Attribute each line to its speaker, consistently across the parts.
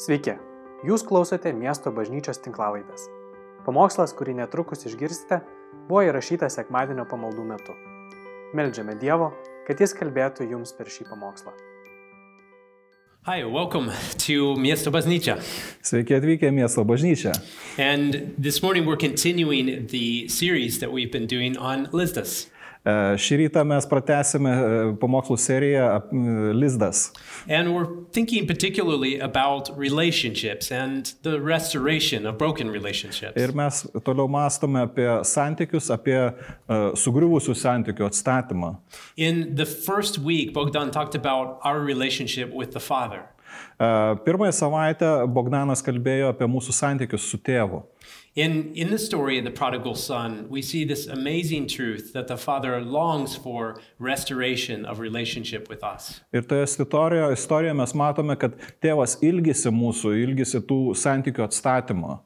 Speaker 1: Sveiki, jūs klausote miesto bažnyčios tinklavaitės. Pamokslas, kurį netrukus išgirsite, buvo įrašytas sekmadienio pamaldų metu. Meldžiame Dievo, kad Jis kalbėtų jums per šį pamokslą.
Speaker 2: Hi, welcome to Miesto Baznicha.
Speaker 3: Sveiki atvykę į miesto bažnyčią. E,
Speaker 2: And this morning we're continuing the series that we've been doing on Lizdas.
Speaker 3: E, Šį rytą mes pratęsime e, pamokslų seriją ap- m, Lizdas.
Speaker 2: And we're thinking particularly about relationships and the restoration of broken relationships.
Speaker 3: Ir mes toliau mąstome apie santykius, apie e, sugriuvusių santykių atstatymą.
Speaker 2: In the first week, Bogdan talked about our relationship with the Father.
Speaker 3: E, Pirmąją savaitę Bogdanas kalbėjo apie mūsų santykius su tėvu.
Speaker 2: In, in the story of the prodigal son, we see this amazing truth that the Father longs for restoration of relationship with us.
Speaker 3: Ir toje istorijoje, istorijoje mes matome, kad tėvas ilgisi mūsų, ilgisi tų santykių atstatymo.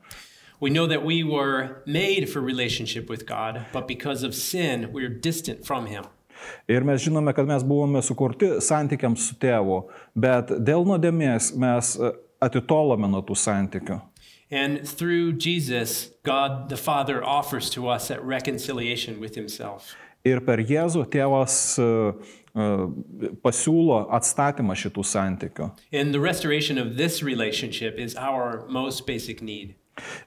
Speaker 2: We know that we were made for relationship with God, but because of sin, we're distant from Him.
Speaker 3: Ir mes žinome, kad mes buvome sukurti santykiams su tėvu, bet dėl nuodėmės mes e, atitolome nuo tų santykių.
Speaker 2: And through Jesus, God the Father offers to us that reconciliation with Himself.
Speaker 3: Ir per Jėzų tėvas e, e, pasiūlo atstatymą šitų santykių.
Speaker 2: And the restoration of this relationship is our most basic need.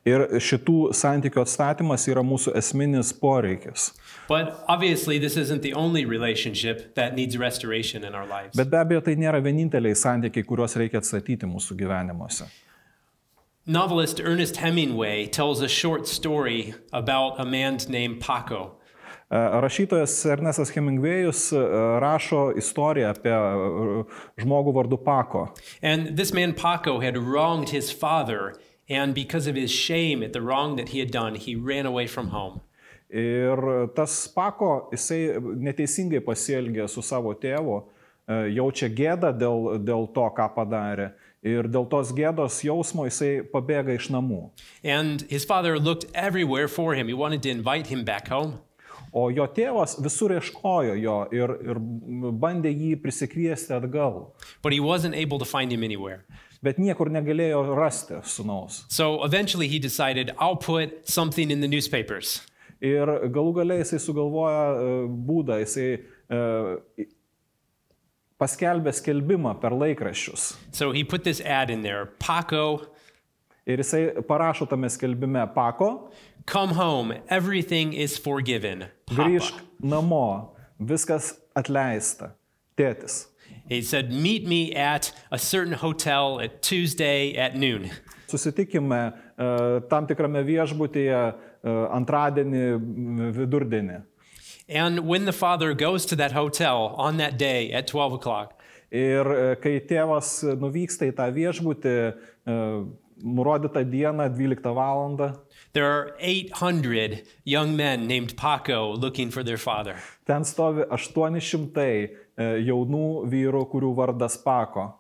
Speaker 3: Ir šitų santykių atstatymas yra mūsų esminis poreikis.
Speaker 2: But obviously, this isn't the only relationship that needs restoration in our lives.
Speaker 3: Bet be abejo, tai nėra vieninteliai santykiai, kuriuos reikia atstatyti mūsų gyvenimuose.
Speaker 2: Novelist Ernest Hemingway tells a short story about a man named Paco.
Speaker 3: E, Rašytojas Ernestas Hemingvėjus e, rašo istoriją apie e, žmogų vardu Pako.
Speaker 2: And this man, Paco, had wronged his father, and because of his shame at the wrong that he had done, he ran away from home.
Speaker 3: Ir tas Pako, jisai neteisingai pasielgė su savo tėvu, e, jaučia gėdą dėl, dėl to, ką padarė. Ir dėl tos gėdos jausmo jisai pabėga iš namų.
Speaker 2: And his father looked everywhere for him. He wanted to invite him back home,
Speaker 3: O jo tėvas visur ieškojo jo ir, ir bandė jį prisikviesti atgal.
Speaker 2: but he wasn't able to find him anywhere.
Speaker 3: Bet niekur negalėjo rasti sunaus.
Speaker 2: So eventually he decided, I'll put something in the newspapers.
Speaker 3: Ir galų galiai jisai sugalvoja e, būdą, jisai e, paskelbė skelbimą per laikraščius.
Speaker 2: So he put this ad in there Paco,
Speaker 3: Ir jisai parašo tame skelbime pako,
Speaker 2: come home. Everything is forgiven. Papa.
Speaker 3: grįžk namo, viskas atleista, tėtis.
Speaker 2: He said, Meet me at a certain hotel at Tuesday at noon.
Speaker 3: Susitikime e, tam tikrame viešbutyje e, antradienį m, vidurdienį.
Speaker 2: And when the father goes to that hotel on that day at 12 o'clock,
Speaker 3: Ir e, kai tėvas nuvyksta į tą viešbutį, e, nurodytą dieną 12 val.
Speaker 2: there are 800 young men named Paco looking for their father.
Speaker 3: Ten stovi 800 e, jaunų vyrų, kurių vardas Pako.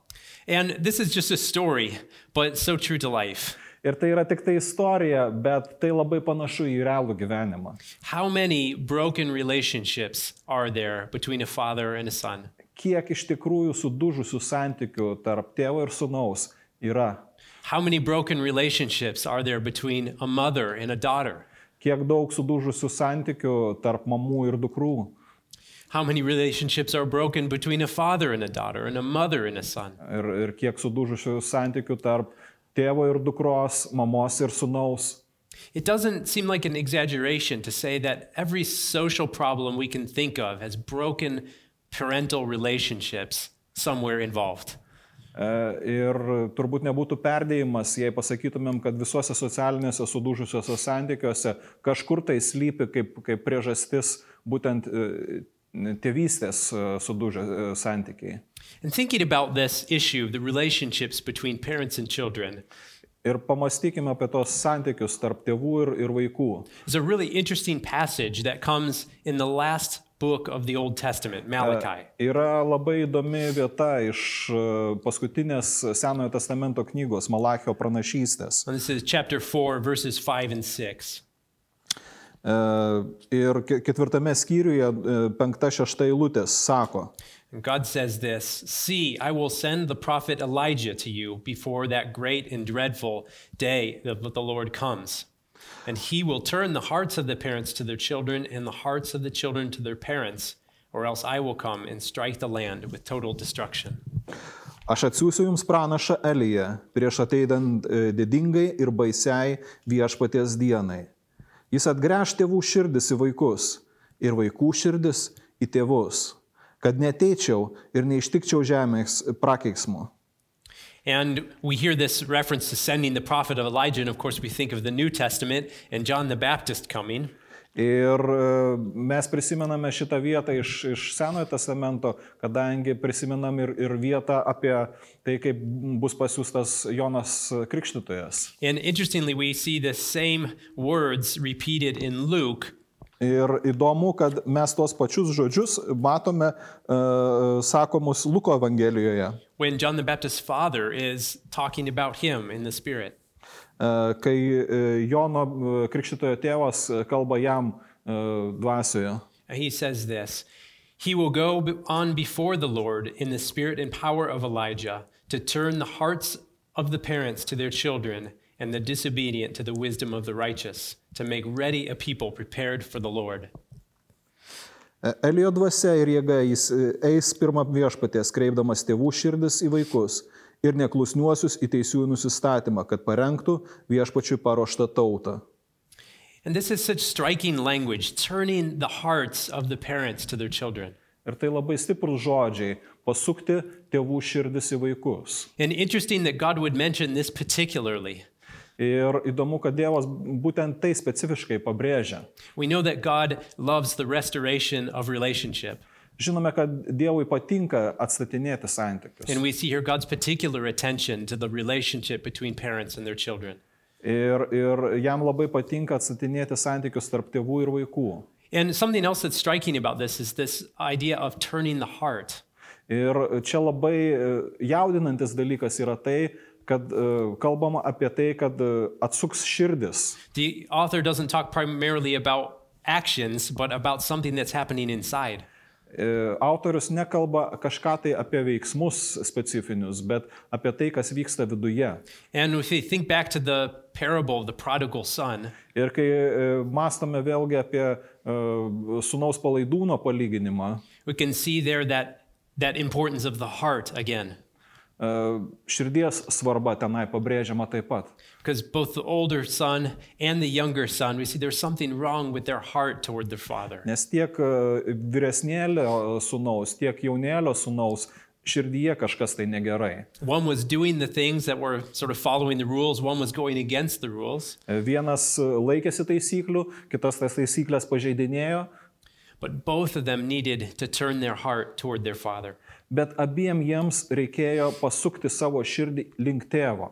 Speaker 2: And this is just a story, but so true to life.
Speaker 3: Ir tai yra tik tai istorija, bet tai labai panašu į realų gyvenimą.
Speaker 2: How many broken relationships are there between a father and a son?
Speaker 3: Kiek iš tikrųjų sudužusių santykių tarp tėvo ir sunaus yra?
Speaker 2: How many broken relationships are there between a mother and a daughter?
Speaker 3: Kiek daug sudužusių santykių tarp mamų ir dukrų?
Speaker 2: How many relationships are broken between a father and a daughter and a mother and a son?
Speaker 3: Ir, ir kiek sudužusių santykių tarp tėvo ir dukros, mamos ir sunaus?
Speaker 2: It doesn't seem like an exaggeration to say that every social problem we can think of has broken parental relationships somewhere involved.
Speaker 3: E, Ir turbūt nebūtų perdėjimas, jei pasakytumėm, kad visuose socialinėse sudužusiuose santykiuose kažkur tai slypi kaip, kaip priežastis būtent e, tėvystės e, sudužę e, santykiai.
Speaker 2: And thinking about this issue of the relationships between parents and children
Speaker 3: Ir pamastykime apie tos santykius tarp tėvų ir, ir vaikų.
Speaker 2: is a really interesting passage that comes in the last book of the Old Testament, Malachi.
Speaker 3: Yra labai įdomi vieta iš e, paskutinės Senojo testamento knygos Malachio pranašystės.
Speaker 2: And this is chapter 4, verses 5 and 6.
Speaker 3: E, Ir ke- ketvirtame skyriuje, e, penkta, šešta eilutė sako,
Speaker 2: And God says this See, I will send the prophet Elijah to you before that great and dreadful day that the Lord comes. And he will turn the hearts of the parents to their children and the hearts of the children to their parents, or else I will come and strike the land with total destruction.
Speaker 3: Aš atsiųsiu jums pranašą Eliją prieš ateidant e, didingai ir baisiai viešpaties dienai. Jis atgręš tėvų širdis į vaikus ir vaikų širdis į tėvus, kad neteičiau ir neištikčiau žemės prakeiksmu.
Speaker 2: And we hear this reference to sending the prophet of Elijah, and of course, we think of the New Testament and John the Baptist coming.
Speaker 3: Ir e, mes prisimename šitą vietą iš, iš Senojo testamento, kadangi prisimenam ir, ir vietą apie tai, kaip bus pasiūstas Jonas Krikštytojas.
Speaker 2: And interestingly, we see the same words repeated in Luke
Speaker 3: Ir įdomu, kad mes tuos pačius žodžius matome uh, sakomus Luko Evangelijoje, E,
Speaker 2: when John the Baptist's father is talking about him in the Spirit.
Speaker 3: uh, kai uh, Jono uh, Krikščitojo tėvas uh, kalba jam uh, dvasioje.
Speaker 2: He says this He will go be- on before the Lord in the spirit and power of Elijah to turn the hearts of the parents to their children and the disobedient to the wisdom of the righteous, to make ready a people prepared for the Lord.
Speaker 3: E, Elio dvasia ir jėga jis e, eis pirmą viešpatės, kreipdamas tėvų širdis į vaikus ir neklusniuosius į teisųjų nusistatymą, kad parengtų viešpačiui paruoštą tautą.
Speaker 2: And this is such striking language, turning the hearts of the parents to their children.
Speaker 3: Ir tai labai stiprus žodžiai - pasukti tėvų širdis į vaikus.
Speaker 2: And interesting that God would mention this particularly.
Speaker 3: Ir įdomu, kad Dievas būtent tai specifiškai pabrėžia.
Speaker 2: We know that God loves the restoration of relationship.
Speaker 3: Žinome, kad Dievui patinka atstatinėti santykius.
Speaker 2: And we see here God's particular attention to the relationship between parents and their children.
Speaker 3: Ir, ir jam labai patinka atstatinėti santykius tarp tėvų ir vaikų.
Speaker 2: And something else that's striking about this is this idea of turning the heart.
Speaker 3: Ir čia labai e, jaudinantis dalykas yra tai, kad e, kalbama apie tai, kad e, atsuks širdis.
Speaker 2: The author doesn't talk primarily about actions, but about something that's happening inside.
Speaker 3: E, Autorius nekalba kažką tai apie veiksmus specifinius, bet apie tai, kas vyksta viduje.
Speaker 2: And if we think back to the parable of the prodigal son,
Speaker 3: Ir kai e, mąstome vėlgi apie e, sunaus palaidūno palyginimą,
Speaker 2: we can see there that, that importance of the heart again.
Speaker 3: e, širdies svarba tenai pabrėžiama taip pat.
Speaker 2: Because both the older son and the younger son, we see there's something wrong with their heart toward their father.
Speaker 3: Nes tiek e, vyresnėlio sunaus, tiek jaunėlio sunaus širdyje kažkas tai negerai.
Speaker 2: One was doing the things that were sort of following the rules, one was going against the rules.
Speaker 3: E, Vienas e, laikėsi taisyklių, kitas tas taisyklės pažeidinėjo,
Speaker 2: But both of them needed to turn their heart toward their father.
Speaker 3: bet abiem jiems reikėjo pasukti savo širdį link tėvo.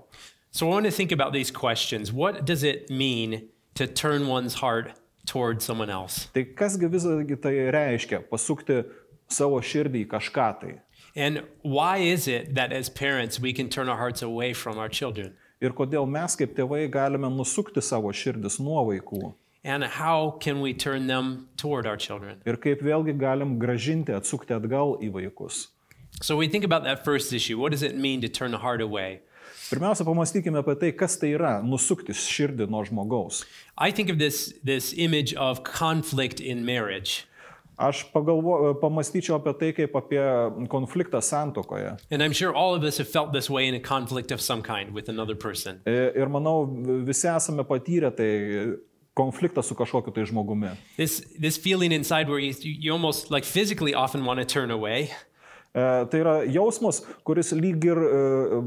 Speaker 2: So I want to think about these questions. What does it mean to turn one's heart toward someone else?
Speaker 3: Tai kasgi visgi tai reiškia pasukti savo širdį į kažką tai?
Speaker 2: And why is it that as parents we can turn our hearts away from our children?
Speaker 3: Ir kodėl mes kaip tėvai galime nusukti savo širdis nuo vaikų.
Speaker 2: And how can we turn them toward our children?
Speaker 3: Ir kaip vėlgi galim gražinti, atsukti atgal į vaikus.
Speaker 2: So we think about that first issue. What does it mean to turn the heart away?
Speaker 3: Pirmiausia, pamastykime apie tai, kas tai yra nusukti širdį nuo žmogaus.
Speaker 2: I think of this this image of conflict in marriage.
Speaker 3: Aš pagalvo, pamastyčiau apie tai kaip apie konfliktą santokoje.
Speaker 2: And I'm sure all of us have felt this way in a conflict of some kind with another person.
Speaker 3: E, Ir manau, visi esame patyrę tai konfliktą su kažkokiu tai žmogumi.
Speaker 2: This this feeling inside where you you almost like physically often want to turn away,
Speaker 3: E, Tai yra jausmas, kuris lyg ir e,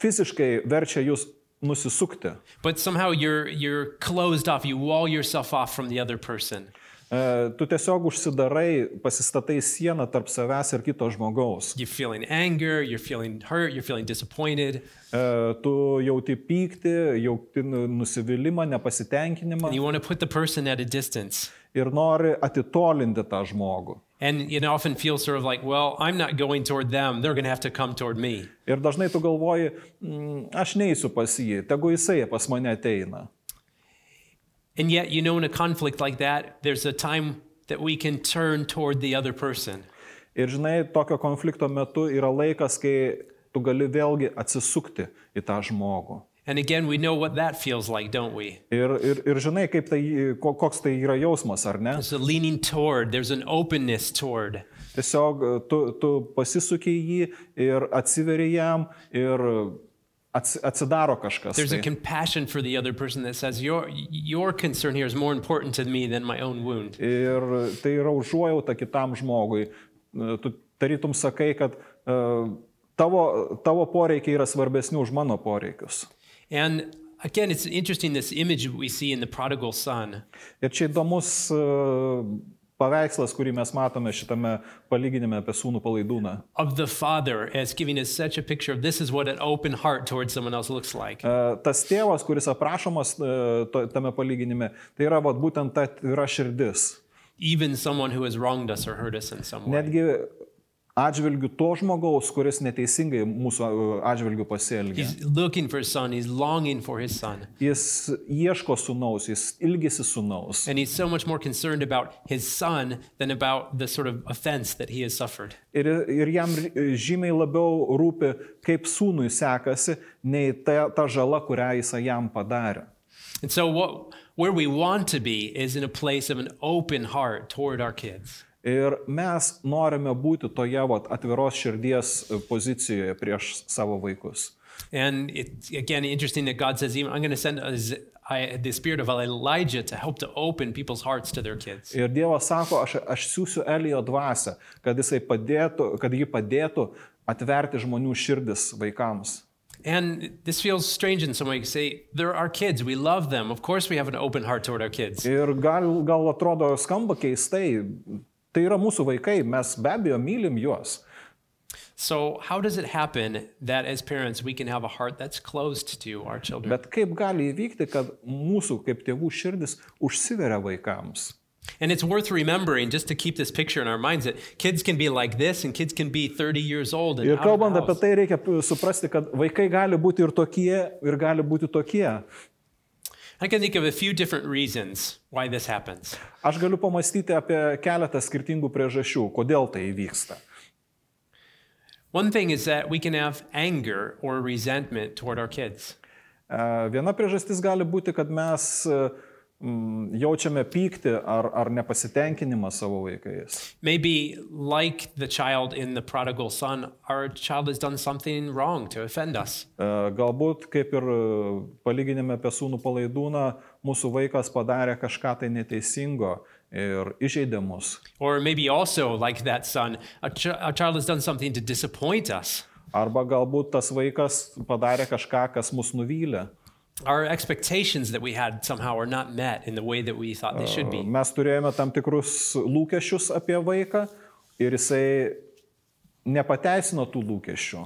Speaker 3: fiziškai verčia jūs nusisukti.
Speaker 2: but somehow you're you're closed off. You wall yourself off from the other person.
Speaker 3: E, Tu tiesiog užsidarai, pasistatai sieną tarp savęs ir kito žmogaus. E,
Speaker 2: You're feeling anger. You're feeling hurt. You're feeling disappointed.
Speaker 3: E, Tu jauti pyktį, jauti nu- nusivylimą, nepasitenkinimą
Speaker 2: And you want to put the person at a distance.
Speaker 3: ir nori atitolinti tą žmogų.
Speaker 2: And it often feels sort of like, well, I'm not going toward them. They're going to have to come toward me.
Speaker 3: Ir dažnai tu galvoji, "Mm, aš neisiu pas jį, tegu jisai pas mane ateina.
Speaker 2: And yet, you know, in a conflict like that, there's a time that we can turn toward the other person.
Speaker 3: Ir žinai, tokio konflikto metu yra laikas, kai tu gali vėlgi atsisukti į tą žmogų.
Speaker 2: And again, we know what that feels like, don't we?
Speaker 3: Ir, ir, ir žinai, kaip tai, ko- koks tai yra jausmas, ar ne?
Speaker 2: There's a leaning toward, there's an openness toward.
Speaker 3: Tiesiog e, tu, tu pasisukiai jį ir atsiveri jam ir ats, atsidaro kažkas.
Speaker 2: There's a
Speaker 3: Tai.
Speaker 2: compassion for the other person that says, Your, your concern here is more important to me than my own wound.
Speaker 3: Ir tai yra užuojauta kitam žmogui. E, Tu tarytum sakai, kad e, tavo, tavo poreikiai yra svarbesni už mano poreikius.
Speaker 2: And again, it's interesting this image we see in the prodigal son.
Speaker 3: Ir čia įdomus e, paveikslas, kurį mes matome šitame palyginime apie sūnų palaidūną.
Speaker 2: of the father as giving us such a picture of this is what an open heart towards someone else looks like.
Speaker 3: E, Tas tėvas, kuris aprašomas e, to- tame palyginime, tai yra vat, būtent ta atvira širdis.
Speaker 2: Even someone who has wronged us or hurt us in some way.
Speaker 3: Netgi atžvilgiu to žmogaus, kuris neteisingai mūsų e, atžvilgiu pasielgia.
Speaker 2: He's looking for his son, he's longing for his son.
Speaker 3: Jis ieško sunaus, jis ilgisi sunaus.
Speaker 2: And he's so much more concerned about his son than about the sort of offense that he has suffered.
Speaker 3: Ir, ir jam ri- žymiai labiau rūpi, kaip sūnui sekasi, nei ta, ta žala, kurią jis jam padarė.
Speaker 2: And so what where we want to be is in a place of an open heart toward our kids.
Speaker 3: Ir mes norime būti toje vat, atviros širdies e, pozicijoje prieš savo vaikus.
Speaker 2: And it's again interesting that God says, even I'm going to send a z- I- the spirit of Elijah to help to open people's hearts to their kids.
Speaker 3: Ir Dievas sako, aš, aš siūsiu Elijo dvasę, kad, jisai padėtų, kad ji padėtų atverti žmonių širdis vaikams.
Speaker 2: And this feels strange in some way. You say, they're our kids. We love them. Of course, we have an open heart toward our kids.
Speaker 3: Ir gal, gal atrodo skamba keistai, tai yra mūsų vaikai, mes be abejo mylim juos.
Speaker 2: So, how does it happen that as parents, we can have a heart that's closed to our children?
Speaker 3: Bet kaip gali įvykti, kad mūsų kaip tėvų širdis užsiveria vaikams?
Speaker 2: And it's worth remembering, just to keep this picture in our minds, that kids can be like this and kids can be 30 years old. And
Speaker 3: Ir
Speaker 2: out of
Speaker 3: kalbant
Speaker 2: the
Speaker 3: apie
Speaker 2: house.
Speaker 3: tai, reikia suprasti, kad vaikai gali būti ir tokie, ir gali būti tokie.
Speaker 2: I can think of a few different reasons why this happens.
Speaker 3: Aš galiu pamastyti apie keletą skirtingų priežasčių, kodėl tai įvyksta.
Speaker 2: One thing is that we can have anger or resentment toward our kids.
Speaker 3: E, Viena priežastis gali būti, kad mes e, mm, jaučiame pyktį ar, ar nepasitenkinimą savo vaikais.
Speaker 2: Maybe, like the child in the prodigal son, our child has done something wrong to offend us.
Speaker 3: E, Galbūt, kaip ir e, palyginime apie sūnų palaidūną, mūsų vaikas padarė kažką tai neteisingo ir įžeidė mus.
Speaker 2: Or maybe also, like that son, a, ch- a child has done something to disappoint us.
Speaker 3: Arba galbūt tas vaikas padarė kažką, kas mus nuvylė.
Speaker 2: Our expectations that we had somehow are not met in the way that we thought they should be.
Speaker 3: Mes turėjome tam tikrus lūkesčius apie vaiką ir jisai nepateisino tų lūkesčių.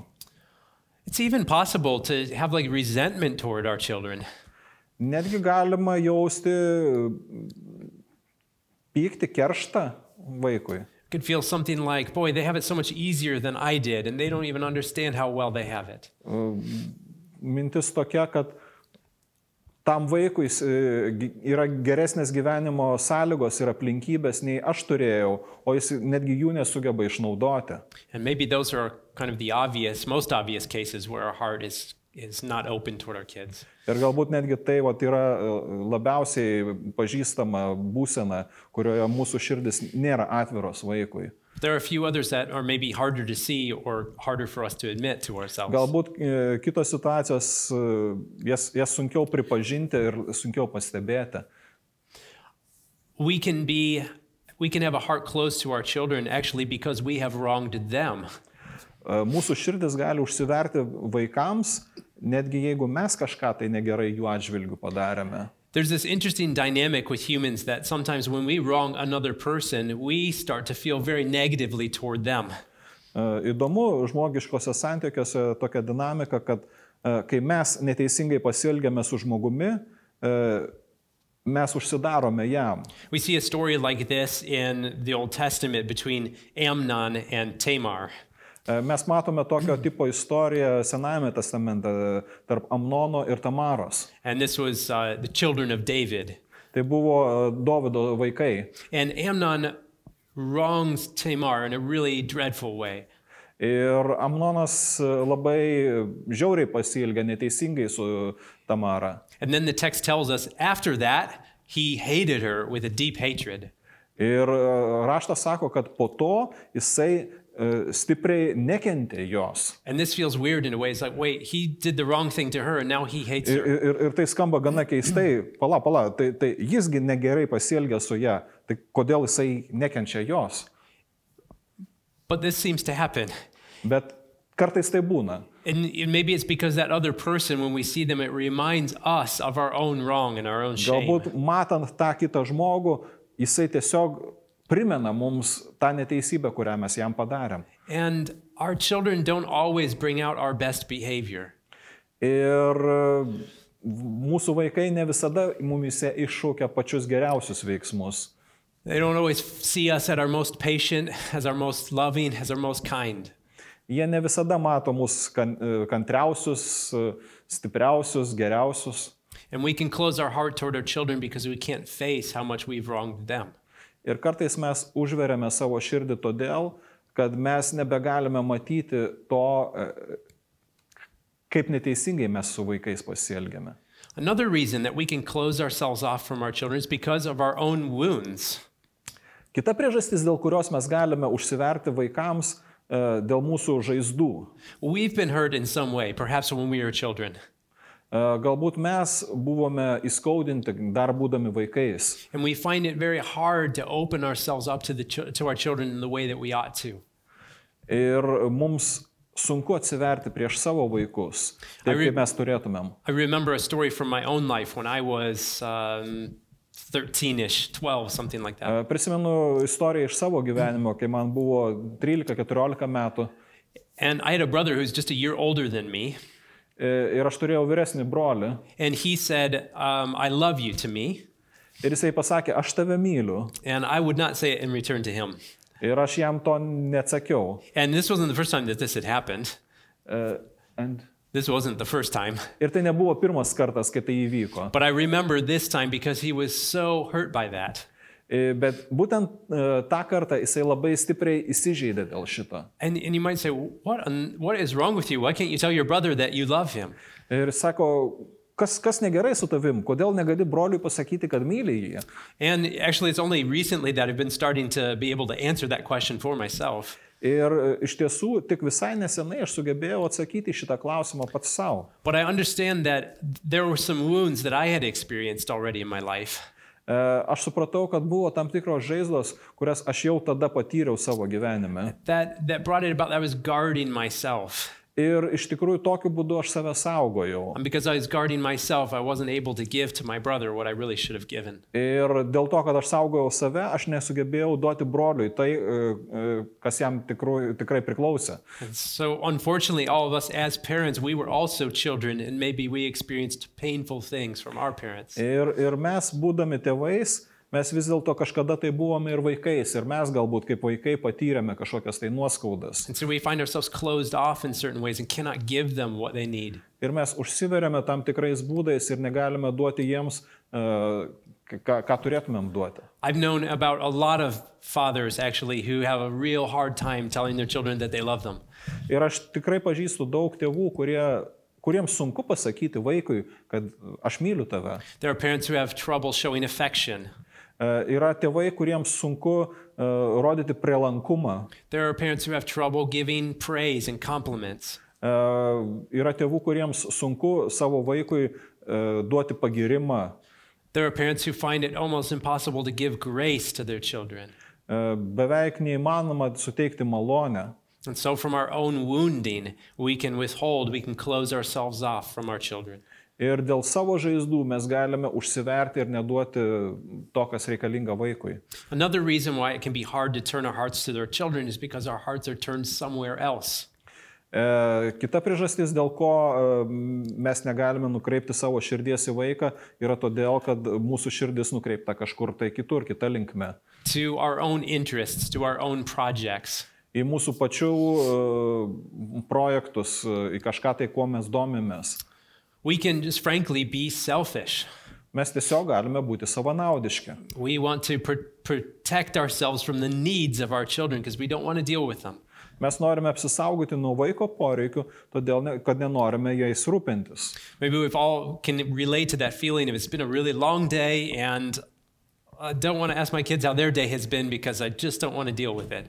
Speaker 2: It's even possible to have like resentment toward our children.
Speaker 3: Netgi galima jausti pykti kerštą vaikui.
Speaker 2: It could feel something like, boy, they have it so much easier than I did, and they don't even understand how well they have it.
Speaker 3: Mintis tokia, kad tam vaikui s- e, gi- yra geresnės gyvenimo sąlygos ir aplinkybės nei aš turėjau, o jis netgi jų nesugeba išnaudoti.
Speaker 2: And maybe those are kind of the obvious, most obvious cases where our heart is, is not open toward our kids.
Speaker 3: Ir galbūt netgi tai vat, yra e, labiausiai pažįstama būsena, kurioje mūsų širdis nėra atviros vaikui.
Speaker 2: There are a few others that are maybe harder to see or harder for us to admit to ourselves.
Speaker 3: Galbūt e, kitos situacijos, e, jas, jas sunkiau pripažinti ir sunkiau pastebėti.
Speaker 2: we can be we can have a heart close to our children actually because we have wronged them
Speaker 3: E, Mūsų širdis gali užsiverti vaikams, netgi jeigu mes kažką tai negerai jų atžvilgių padarėme.
Speaker 2: there's this interesting dynamic with humans that sometimes when we wrong another person we start to feel very negatively toward them
Speaker 3: E, Įdomu žmogiškose santykiuose tokia dinamika, kad e, kai mes neteisingai pasielgiame su žmogumi, e, mes užsidarome jam.
Speaker 2: we see a story like this in the old testament between amnon and tamar
Speaker 3: E, Mes matome tokio tipo istoriją Senajame testamente e, tarp Amnono ir Tamaros.
Speaker 2: and this was uh, the children of david
Speaker 3: Tai buvo Davido vaikai.
Speaker 2: And Amnon wrongs Tamar in a really dreadful way.
Speaker 3: Ir Amnonas e, labai žiauriai pasilgė neteisingai su Tamara.
Speaker 2: And then the text tells us after that, he hated her with a deep hatred.
Speaker 3: Ir e, raštas sako, kad po to jisai e, stipriai nekentė jos.
Speaker 2: And this feels weird in a way. It's like, wait, he did the wrong thing to her and now he hates
Speaker 3: Ir,
Speaker 2: her.
Speaker 3: ir, ir tai skamba gana keistai, pala, pala, tai, tai jisgi negerai pasielgė su ją, tai kodėl jisai nekenčia jos.
Speaker 2: But this seems to happen.
Speaker 3: Bet kartais tai būna.
Speaker 2: And it- maybe it's because that other person, when we see them, it reminds us of our own wrong and our own shame.
Speaker 3: Galbūt matant tą kitą žmogų, jisai tiesiog primena mums tą neteisybę, kurią mes jam padarėm.
Speaker 2: And our children don't always bring out our best behavior.
Speaker 3: Ir e, mūsų vaikai ne visada mumise iššaukia pačius geriausius veiksmus.
Speaker 2: They don't always see us at our most patient, as our most loving, as our most kind.
Speaker 3: Jie ne visada mato mus kan, e, kantriausius, e, stipriausius, geriausius.
Speaker 2: And we can close our heart toward our children because we can't face how much we've wronged them.
Speaker 3: Ir kartais mes užveriame savo širdį todėl, kad mes nebegalime matyti to, e, kaip neteisingai mes su vaikais pasielgėme.
Speaker 2: Another reason that we can close ourselves off from our children is because of our own wounds.
Speaker 3: Kita priežastis, dėl kurios mes galime užsiverti vaikams, e, dėl mūsų žaizdų.
Speaker 2: We've been hurt in some way, perhaps when we were children,
Speaker 3: E, Galbūt mes buvome įskaudinti dar būdami vaikais.
Speaker 2: and we find it very hard to open ourselves up to, the ch- to our children in the way that we ought to.
Speaker 3: Ir mums sunku atsiverti prieš savo vaikus,
Speaker 2: Ar-
Speaker 3: taip kaip mes turėtumėm. E,
Speaker 2: I remember a story from my own life when I was 13 ish, 12, something like that.
Speaker 3: E, Prisimenu istoriją iš savo gyvenimo, kai man buvo 13-14 metų
Speaker 2: And I had a brother who's just a year older than me,
Speaker 3: e, ir aš turėjau vyresnį brolį.
Speaker 2: and he said, um, I love you to me.
Speaker 3: Ir jisai pasakė, aš tave myliu.
Speaker 2: And I would not say it in return to him.
Speaker 3: Ir aš jam to neatsakiau.
Speaker 2: And this wasn't the first time that this had happened.
Speaker 3: E, And...
Speaker 2: This wasn't the first time.
Speaker 3: Ir tai nebuvo pirmas kartas, kai tai įvyko.
Speaker 2: But I remember this time because he was so hurt by that.
Speaker 3: E, Bet būtent e, tą kartą jisai labai stipriai įsižeidė dėl šito.
Speaker 2: And, and you might say, what, on, what is wrong with you? Why can't you tell your brother that you love him?
Speaker 3: Ir sako, kas, kas negerai su tavim, kodėl negali broliui pasakyti, kad myli jį.
Speaker 2: And actually, it's only recently that I've been starting to be able to answer that question for myself.
Speaker 3: Ir e, iš tiesų, tik visai nesenai aš sugebėjau atsakyti į šitą klausimą pats savo.
Speaker 2: But I understand that there were some wounds that I had experienced already in my life.
Speaker 3: E, Aš supratau, kad buvo tam tikros žaizdos, kurias aš jau tada patyriau savo gyvenime.
Speaker 2: That, that brought it about that I was guarding myself.
Speaker 3: Ir iš tikrųjų tokiu būdu aš save saugojau.
Speaker 2: And because I was guarding myself, I wasn't able to give to my brother what I really should have given.
Speaker 3: Ir dėl to, kad aš saugojau save, aš nesugebėjau duoti broliui tai, e, e, kas jam tikru, tikrai priklausė.
Speaker 2: So, unfortunately, all of us as parents, we were also children, and maybe we experienced painful things from our parents.
Speaker 3: Ir, ir mes, būdami tėvais, mes vis dėlto kažkada tai buvome ir vaikais, ir mes galbūt kaip vaikai patyrėme kažkokias tai nuoskaudas.
Speaker 2: And so we find ourselves closed off in certain ways and cannot give them what they need.
Speaker 3: Ir mes užsiverėme tam tikrais būdais ir negalime duoti jiems, e, ką, ką turėtumėm duoti.
Speaker 2: I've known about a lot of fathers actually who have a real hard time telling their children that they love them.
Speaker 3: Ir aš tikrai pažįstu daug tėvų, kurie, kuriems sunku pasakyti vaikui, kad aš myliu tave.
Speaker 2: There are parents who have trouble showing affection.
Speaker 3: E, Yra tėvai, kuriems sunku e, rodyti prielankumą.
Speaker 2: There are parents who have trouble giving praise and compliments.
Speaker 3: E, Yra tėvų, kuriems sunku savo vaikui e, duoti pagirimą.
Speaker 2: There are parents who find it almost impossible to give grace to their children.
Speaker 3: E, Beveik neįmanoma suteikti malonę.
Speaker 2: And so, from our own wounding, we can withhold, we can close ourselves off from our children.
Speaker 3: Ir dėl savo žaizdų mes galime užsiverti ir neduoti to, kas reikalinga vaikui.
Speaker 2: Another reason why it can be hard to turn our hearts to their children is because our hearts are turned somewhere else.
Speaker 3: E, Kita priežastis, dėl ko e, mes negalime nukreipti savo širdies į vaiką, yra todėl, kad mūsų širdis nukreipta kažkur tai kitur, kita linkme.
Speaker 2: to our own interests, to our own projects.
Speaker 3: į mūsų pačių e, projektus, e, į kažką tai, kuo mes domimės.
Speaker 2: We can just frankly be selfish.
Speaker 3: Mes tiesiog galime būti savanaudiški.
Speaker 2: We want to pr- protect ourselves from the needs of our children because we don't want to deal with them.
Speaker 3: Mes norime apsisaugoti nuo vaiko poreikių, todėl ne, kad nenorime jais rūpintis.
Speaker 2: Maybe we've all can relate to that feeling of it's been a really long day and I don't want to ask my kids how their day has been because I just don't want to deal with it.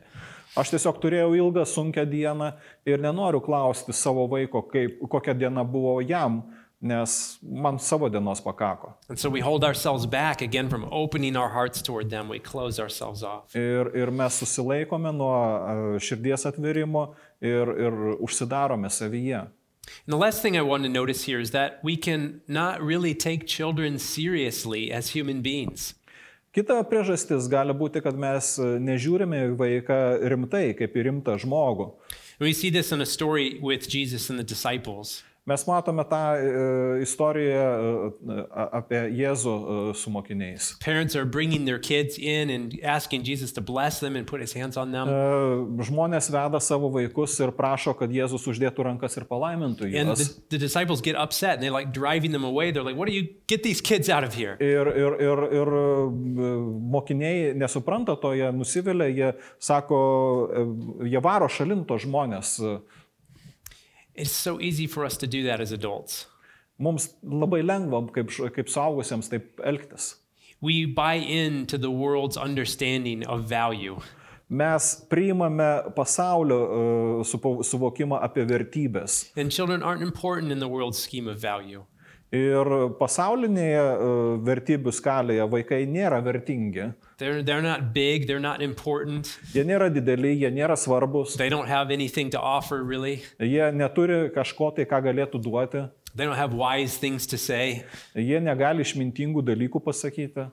Speaker 3: Aš tiesiog turėjau ilgą, sunkę dieną ir nenoriu klausti savo vaiko, kaip, kokia diena buvo jam, nes man savo dienos pakako.
Speaker 2: And so we hold ourselves back again from opening our hearts toward them. We close ourselves off.
Speaker 3: Ir, ir mes susilaikome nuo e, širdies atvirimo ir, ir užsidarome savyje.
Speaker 2: And the last thing I want to notice here is that we can not really take children seriously as human beings.
Speaker 3: Kita priežastis gali būti, kad mes e, nežiūrime į vaiką rimtai, kaip į rimtą žmogų.
Speaker 2: And we see this in a story with Jesus and the disciples.
Speaker 3: Mes matome tą e, istoriją e, a- apie Jėzų e, su mokiniais.
Speaker 2: Parents are bringing their kids in and asking Jesus to bless them and put his hands on them.
Speaker 3: E, Žmonės veda savo vaikus ir prašo, kad Jėzus uždėtų rankas ir palaimintų
Speaker 2: And
Speaker 3: juos.
Speaker 2: the, the disciples get upset and they like driving them away. They're like, What do you get these kids out of here?
Speaker 3: Ir, ir, ir, ir e, mokiniai nesupranta to, jie nusivilia, jie sako, e, jie varo šalinto žmonės. e,
Speaker 2: It's so easy for us to do that as adults.
Speaker 3: Mums labai lengva kaip, ž- kaip suaugusiems taip elgtis.
Speaker 2: We buy into the world's understanding of value.
Speaker 3: Mes priimame pasaulio e, supo- suvokimą apie vertybės.
Speaker 2: And children aren't important in the world's scheme of value.
Speaker 3: Ir pasaulinėje e, vertybių skalėje vaikai nėra vertingi.
Speaker 2: They're, they're not big, they're not important,
Speaker 3: Jie nėra dideli, jie nėra svarbus,
Speaker 2: they don't have anything to offer really,
Speaker 3: jie neturi kažko tai, ką galėtų duoti,
Speaker 2: they don't have wise things to say.
Speaker 3: jie negali išmintingų dalykų pasakyti.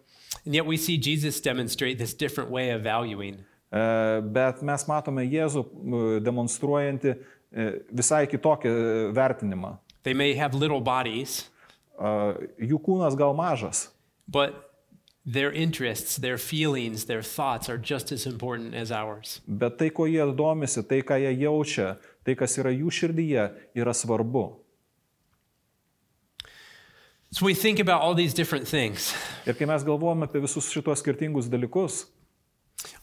Speaker 2: And yet we see Jesus demonstrate this different way of valuing.
Speaker 3: E, Bet mes matome Jėzų e, demonstruojantį e, visai kitokį e, vertinimą.
Speaker 2: They may have little bodies,
Speaker 3: E, Jų kūnas gal mažas,
Speaker 2: but their interests, their feelings, their thoughts are just as important as ours.
Speaker 3: bet tai, ko jie domisi, tai, ką jie jaučia, tai, kas yra jų širdyje, yra svarbu.
Speaker 2: So we think about all these different things.
Speaker 3: Ir kai mes galvojame apie visus šitos skirtingus dalykus,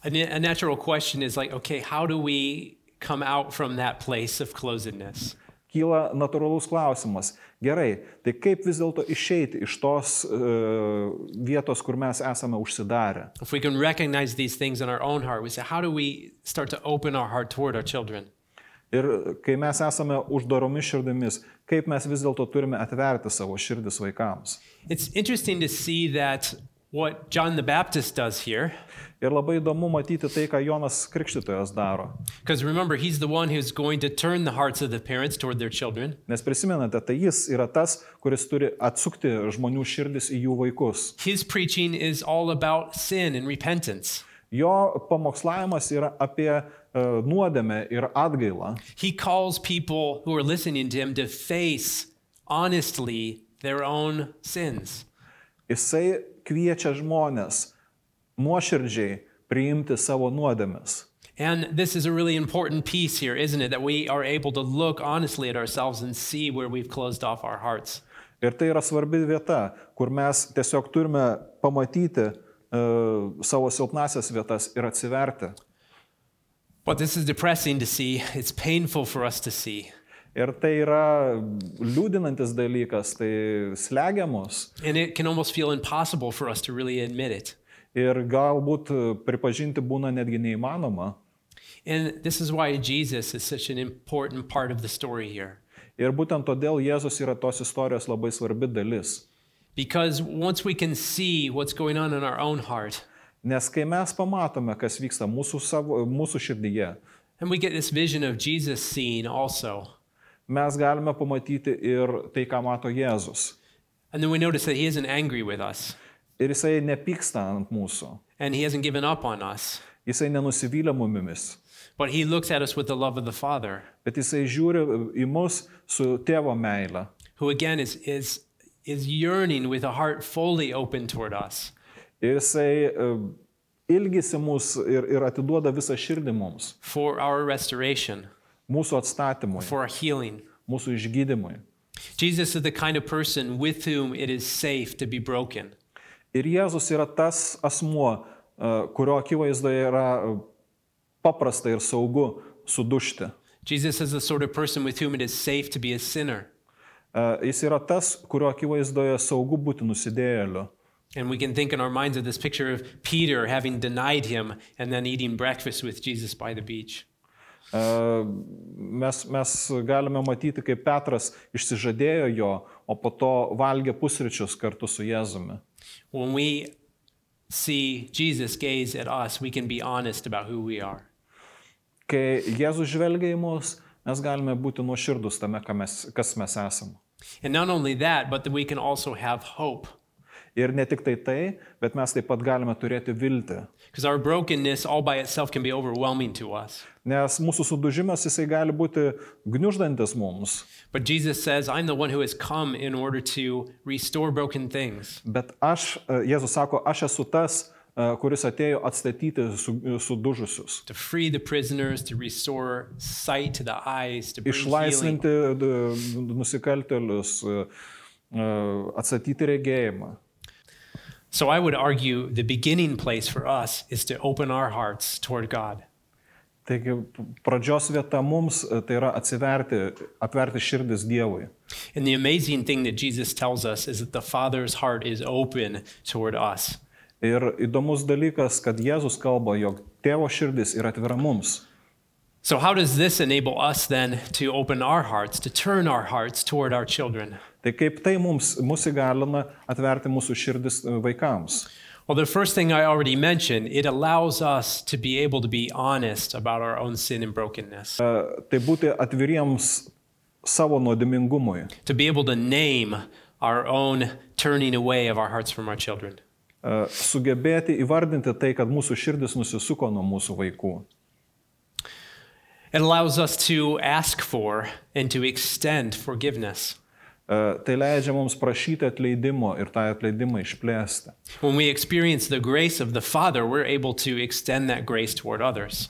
Speaker 2: A, na- a natural question is like, okay, how do we come out from that place of closedness?
Speaker 3: kyla natūralus klausimas. Gerai, tai kaip vis dėlto išeiti iš tos e, vietos, kur mes esame užsidarę?
Speaker 2: If we can recognize these things in our own heart, we say, how do we start to open our heart toward our children?
Speaker 3: Ir kai mes esame uždaromis širdimis, kaip mes vis dėlto turime atverti savo širdis vaikams?
Speaker 2: It's interesting to see that what John the Baptist does here,
Speaker 3: Ir labai įdomu matyti tai, ką Jonas Krikštytojas daro.
Speaker 2: because remember, he's the one who's going to turn the hearts of the parents toward their children.
Speaker 3: Nes prisimenate, tai jis yra tas, kuris turi atsukti žmonių širdis į jų vaikus.
Speaker 2: His preaching is all about sin and repentance.
Speaker 3: Jo pamokslavimas yra apie e, nuodėmę ir atgailą.
Speaker 2: He calls people who are listening to him to face honestly their own sins.
Speaker 3: Jisai kviečia žmonės nuoširdžiai priimti savo nuodėmes.
Speaker 2: And this is a really important piece here, isn't it? That we are able to look honestly at ourselves and see where we've closed off our hearts.
Speaker 3: Ir tai yra svarbi vieta, kur mes tiesiog turime pamatyti e, savo silpnasias vietas ir atsiverti.
Speaker 2: But this is depressing to see. It's painful for us to see.
Speaker 3: Ir tai yra liūdinantis dalykas, tai slegiamus.
Speaker 2: And it can almost feel impossible for us to really admit it.
Speaker 3: Ir galbūt pripažinti būna netgi neįmanoma.
Speaker 2: And this is why Jesus is such an important part of the story here.
Speaker 3: Ir būtent todėl Jėzus yra tos istorijos labai svarbi dalis.
Speaker 2: Because once we can see what's going on in our own heart,
Speaker 3: Nes kai mes pamatome, kas vyksta mūsų, savo, mūsų širdyje,
Speaker 2: and we get this vision of Jesus seen also,
Speaker 3: mes galime pamatyti ir tai, ką mato Jėzus.
Speaker 2: and then we notice that he isn't angry with us
Speaker 3: Ir jisai nepyksta ant mūsų,
Speaker 2: and he hasn't given up on us,
Speaker 3: jisai nenusivylė mumimis,
Speaker 2: but he looks at us with the love of the Father,
Speaker 3: bet jisai žiūri į mus su tėvo meile.
Speaker 2: who again is, is, is yearning with a heart fully open toward us.
Speaker 3: Ir jisai e, ilgisi mus ir, ir atiduoda visą širdį mums,
Speaker 2: for our restoration,
Speaker 3: mūsų atstatymui,
Speaker 2: for our healing.
Speaker 3: mūsų išgydymui.
Speaker 2: Jesus is the kind of person with whom it is safe to be broken.
Speaker 3: Ir Jėzus yra tas asmuo, e, kurio akivaizdoje yra e, paprasta ir saugu sudušti.
Speaker 2: Jesus is the sort of person with whom it is safe to be a sinner.
Speaker 3: E, Jis yra tas, kurio akivaizdoje saugu būti nusidėjėliu.
Speaker 2: And we can think in our minds of this picture of Peter having denied him and then eating breakfast with Jesus by the beach.
Speaker 3: E, Mes, mes galime matyti, kaip Petras išsižadėjo jo, o po to valgė pusryčius kartu su Jėzumi.
Speaker 2: When we see Jesus gaze at us, we can be honest about who we are.
Speaker 3: Kai Jėzus žvelgia į mus, mes galime būti nuoširdus tame, ką mes, kas mes esame.
Speaker 2: And not only that, but that we can also have hope.
Speaker 3: Ir ne tik tai tai, bet mes taip pat galime turėti viltį.
Speaker 2: Because our brokenness all by itself can be overwhelming to us.
Speaker 3: Nes mūsų sudužimas jisai gali būti gniuždantis mums.
Speaker 2: But Jesus says, I'm the one who has come in order to restore broken things.
Speaker 3: Bet aš, e, Jėzus sako, aš esu tas, e, kuris atėjo atstatyti su, sudužusius.
Speaker 2: to free the prisoners, to restore sight to the eyes, to bring healing.
Speaker 3: Išlaisvinti e, nusikaltelius, e, e, atstatyti regėjimą.
Speaker 2: So I would argue the beginning place for us is to open our hearts toward God.
Speaker 3: Taigi pradžios vieta mums e, tai yra atsiverti, atverti širdis Dievui.
Speaker 2: And the amazing thing that Jesus tells us is that the Father's heart is open toward us.
Speaker 3: Ir įdomus dalykas, kad Jėzus kalba, jog tėvo širdis yra atvira mums.
Speaker 2: So, how does this enable us then to open our hearts, to turn our hearts toward our children?
Speaker 3: Tai kaip tai mums, mus įgalina atverti mūsų širdis e, vaikams?
Speaker 2: Well, the first thing I already mentioned, it allows us to be able to be honest about our own sin and brokenness,
Speaker 3: E, Tai būti atviriems savo nuodėmingumui.
Speaker 2: to be able to name our own turning away of our hearts from our children.
Speaker 3: E, Sugebėti įvardinti tai, kad mūsų širdis nusisuko nuo mūsų vaikų.
Speaker 2: It allows us to ask for and to extend forgiveness.
Speaker 3: E, Tai leidžia mums prašyti atleidimo ir tą atleidimą išplėsti.
Speaker 2: When we experience the grace of the Father, we're able to extend that grace toward others.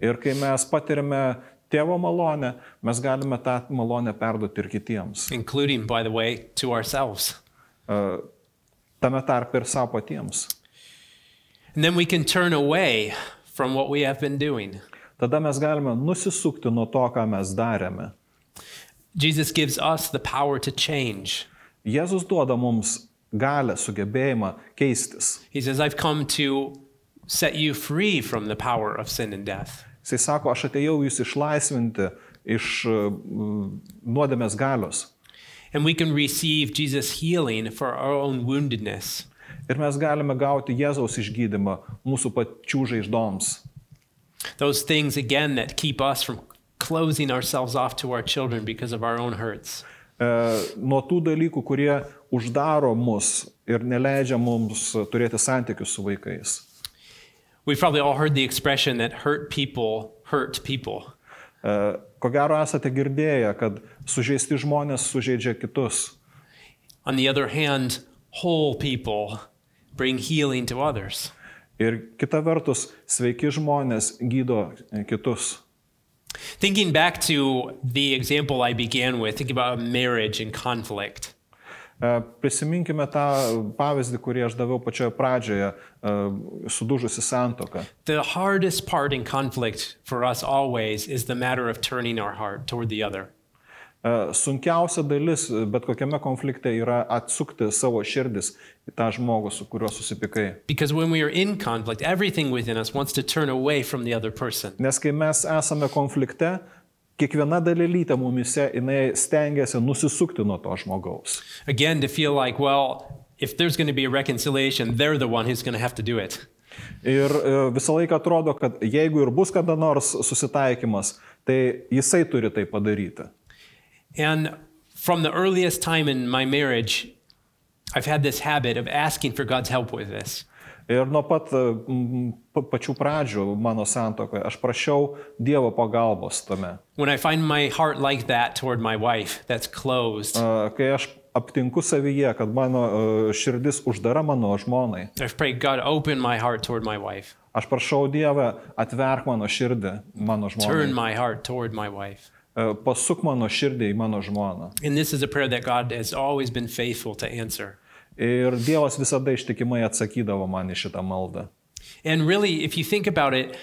Speaker 3: Ir kai mes patiriame tėvo malonę, mes galime tą malonę perduoti ir kitiems.
Speaker 2: including, by the way, to ourselves.
Speaker 3: E, Tame tarp ir savo patiems.
Speaker 2: And then we can turn away from what we have been doing.
Speaker 3: Tada mes galime nusisukti nuo to, ką mes darėme.
Speaker 2: Jesus gives us the power to change.
Speaker 3: Jėzus duoda mums galę, sugebėjimą keistis.
Speaker 2: He says, I've come to set you free from the power of sin and death.
Speaker 3: Jisai sako, aš atėjau jūs išlaisvinti iš e, m, nuodėmės galios.
Speaker 2: And we can receive Jesus' healing for our own woundedness.
Speaker 3: Ir mes galime gauti Jėzaus išgydymą mūsų pačių žaizdoms.
Speaker 2: Those things, again, that keep us from closing ourselves off to our children because of our own hurts.
Speaker 3: E, Nuo tų dalykų, kurie uždaro mus ir neleidžia mums turėti santykių su vaikais.
Speaker 2: We've probably all heard the expression that hurt people hurt people.
Speaker 3: E, Ko gero esate girdėję, kad sužeisti žmonės sužeidžia kitus.
Speaker 2: On the other hand, whole people bring healing to others.
Speaker 3: Ir kita vertus, sveiki žmonės gydo e, kitus.
Speaker 2: Thinking back to the example I began with, thinking about marriage and conflict.
Speaker 3: E, Prisiminkime tą pavyzdį, kurį aš daviau pačioje pradžioje, e, sudužusi santoką.
Speaker 2: The hardest part in conflict for us always is the matter of turning our heart toward the other.
Speaker 3: E, Sunkiausia dalis e, bet kokiame konflikte yra atsukti savo širdis į tą žmogų, su kuriuo susipykai.
Speaker 2: Because when we are in conflict, everything within us wants to turn away from the other person.
Speaker 3: Nes kai mes esame konflikte, kiekviena dalelytė mumise, jinai stengiasi nusisukti nuo to žmogaus.
Speaker 2: Again, to feel like, well, if there's going to be a reconciliation, they're the one who's going to have to do it.
Speaker 3: Ir e, visą laiką atrodo, kad jeigu ir bus kada nors susitaikymas, tai jisai turi tai padaryti.
Speaker 2: And from the earliest time in my marriage, I've had this habit of asking for God's help with this.
Speaker 3: Ir nuo pat e, m, pa- pačių pradžių mano santokoje aš prašiau Dievo pagalbos tame.
Speaker 2: When I find my heart like that toward my wife, that's closed,
Speaker 3: E, Kai aš aptinku savyje, kad mano e, širdis uždara mano žmonai,
Speaker 2: I've prayed, God, open my heart toward my wife,
Speaker 3: aš prašau Dievę atverk mano širdį, mano
Speaker 2: turn
Speaker 3: žmonai.
Speaker 2: my heart toward my wife.
Speaker 3: e, pasuk mano širdį į mano žmoną.
Speaker 2: And this is a prayer that God has always been faithful to answer.
Speaker 3: Ir Dievas visada ištikimai atsakydavo man į šitą maldą.
Speaker 2: And really, if you think about it,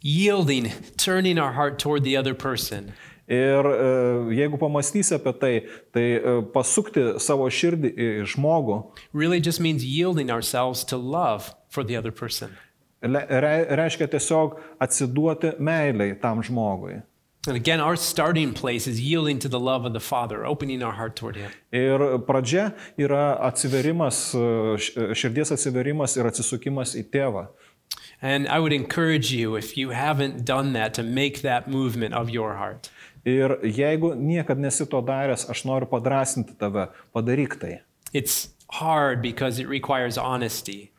Speaker 2: yielding, turning our heart toward the other person,
Speaker 3: Ir e, jeigu pamastysi apie tai, tai e, pasukti savo širdį į žmogų
Speaker 2: really just means yielding ourselves to love for the other person.
Speaker 3: le- re- reiškia tiesiog atsiduoti meiliai tam žmogui.
Speaker 2: And again, our starting place is yielding to the love of the Father, opening our heart toward Him.
Speaker 3: Ir pradžia yra atsiverimas, e, š- širdies atsiverimas ir atsisukimas į tėvą.
Speaker 2: And I would encourage you, if you haven't done that, to make that movement of your heart.
Speaker 3: Ir jeigu niekad nesi to daręs, aš noriu padrasinti tave, padaryk tai.
Speaker 2: It's hard because it requires honesty,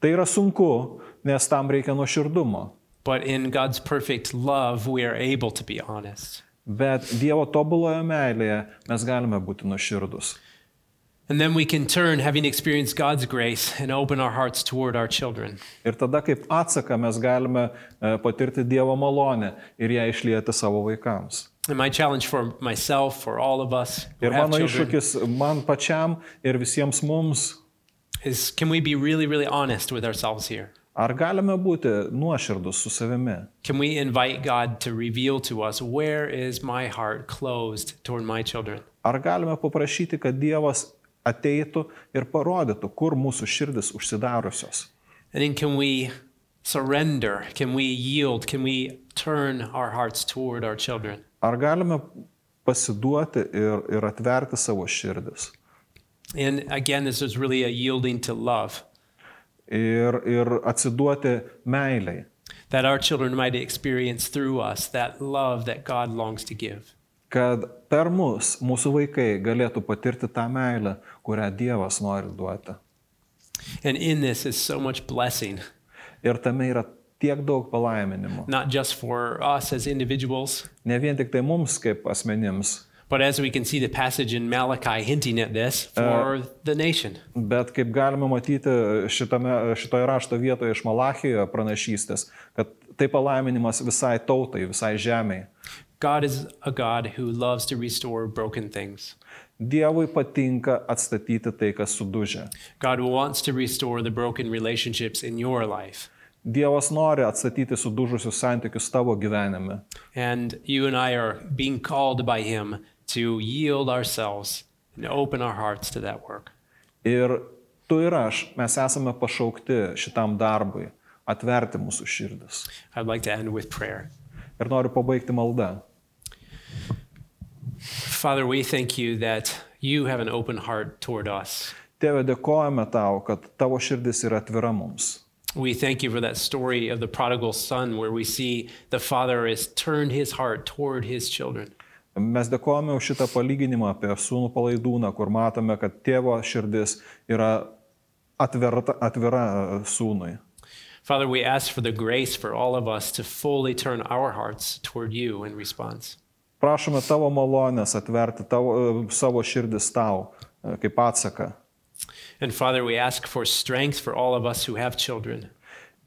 Speaker 3: Tai yra sunku, nes tam reikia nuoširdumo.
Speaker 2: but in God's perfect love, we are able to be honest.
Speaker 3: Bet Dievo tobuloje meilėje mes galime būti nuoširdus.
Speaker 2: And then we can turn, having experienced God's grace, and open our hearts toward our children.
Speaker 3: Ir tada kaip atsaką mes galime e, patirti Dievo malonę ir ją išlieti savo vaikams.
Speaker 2: And my challenge for myself, for all of us who
Speaker 3: Ir
Speaker 2: have
Speaker 3: mano
Speaker 2: children,
Speaker 3: iššūkis man pačiam ir visiems mums,
Speaker 2: is can we be really, really honest with ourselves here?
Speaker 3: ar galime būti nuoširdus su savimi?
Speaker 2: Can we invite God to reveal to us where is my heart closed toward my children?
Speaker 3: Ar galime paprašyti, kad Dievas ateitų ir parodytų, kur mūsų širdis užsidariusios?
Speaker 2: And then can we surrender? Can we yield? Can we turn our hearts toward our children?
Speaker 3: Ar galime pasiduoti ir, ir atverti savo širdis?
Speaker 2: And again, this is really a yielding to love
Speaker 3: Ir, ir atsiduoti meiliai,
Speaker 2: that our children might experience through us that love that God longs to give.
Speaker 3: kad per mus mūsų vaikai galėtų patirti tą meilę, kurią Dievas nori duoti.
Speaker 2: And in this is so much blessing,
Speaker 3: Ir tame yra tiek daug palaiminimo.
Speaker 2: not just for us as individuals,
Speaker 3: Ne vien tik tai mums kaip asmenims,
Speaker 2: but as we can see the passage in Malachi hinting at this for the nation.
Speaker 3: bet kaip galime matyti šitame, šitoje rašto vietoje iš Malachijoje pranašystės, kad tai palaiminimas visai tautai, visai žemiai.
Speaker 2: God is a God who loves to restore broken things.
Speaker 3: Dievui patinka atstatyti tai, kas sudužė.
Speaker 2: God wants to restore the broken relationships in your life.
Speaker 3: Dievas nori atstatyti sudužusius santykius tavo gyvenime.
Speaker 2: And you and I are being called by Him to yield ourselves and open our hearts to that work.
Speaker 3: Ir tu ir aš, mes esame pašaukti šitam darbui, atverti mūsų širdis.
Speaker 2: I'd like to end with prayer.
Speaker 3: Ir noriu pabaigti maldą.
Speaker 2: Father, we thank you that you have an open heart toward us.
Speaker 3: Tėve, dėkojame tau, kad tavo širdis yra atvira mums.
Speaker 2: We thank you for that story of the prodigal son where we see the father has turned his heart toward his children.
Speaker 3: Mes dėkojame už šitą palyginimą apie sūnų palaidūną, kur matome, kad tėvo širdis yra atverta, atvira e, sūnui.
Speaker 2: Father, we ask for the grace for all of us to fully turn our hearts toward you in response.
Speaker 3: Prašome tavo malonės atverti tavo, e, savo širdis tau e, kaip atsaką.
Speaker 2: And Father, we ask for strength for all of us who have children,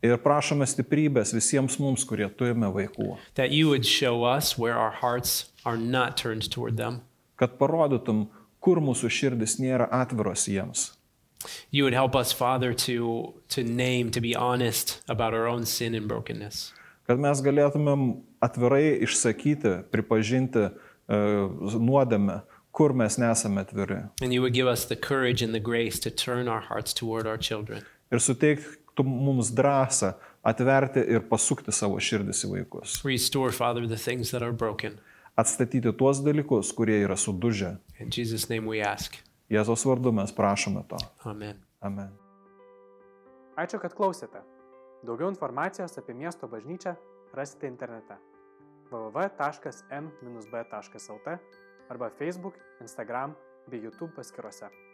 Speaker 3: Ir prašome stiprybės visiems mums, kurie turime vaikų,
Speaker 2: that you would show us where our hearts are not turned toward them.
Speaker 3: kad parodytum, kur mūsų širdis nėra atviros jiems.
Speaker 2: You would help us, Father, to, to name, to be honest about our own sin and brokenness.
Speaker 3: Kad mes galėtumėm atvirai išsakyti, pripažinti e, nuodėmę, kur mes nesame atviri.
Speaker 2: And you would give us the courage and the grace to turn our hearts toward our children.
Speaker 3: Ir suteiktum mums drąsą atverti ir pasukti savo širdis į vaikus.
Speaker 2: Restore, Father, the things that are broken.
Speaker 3: Atstatyti tuos dalykus, kurie yra sudužę.
Speaker 2: In Jesus' name we ask.
Speaker 3: Jėzos vardu mes prašome to.
Speaker 2: Amen.
Speaker 3: Amen.
Speaker 1: Ačiū, kad klausėte. Daugiau informacijos apie miesto bažnyčią rasite internete www.m-b.lt arba Facebook, Instagram bei YouTube paskiruose.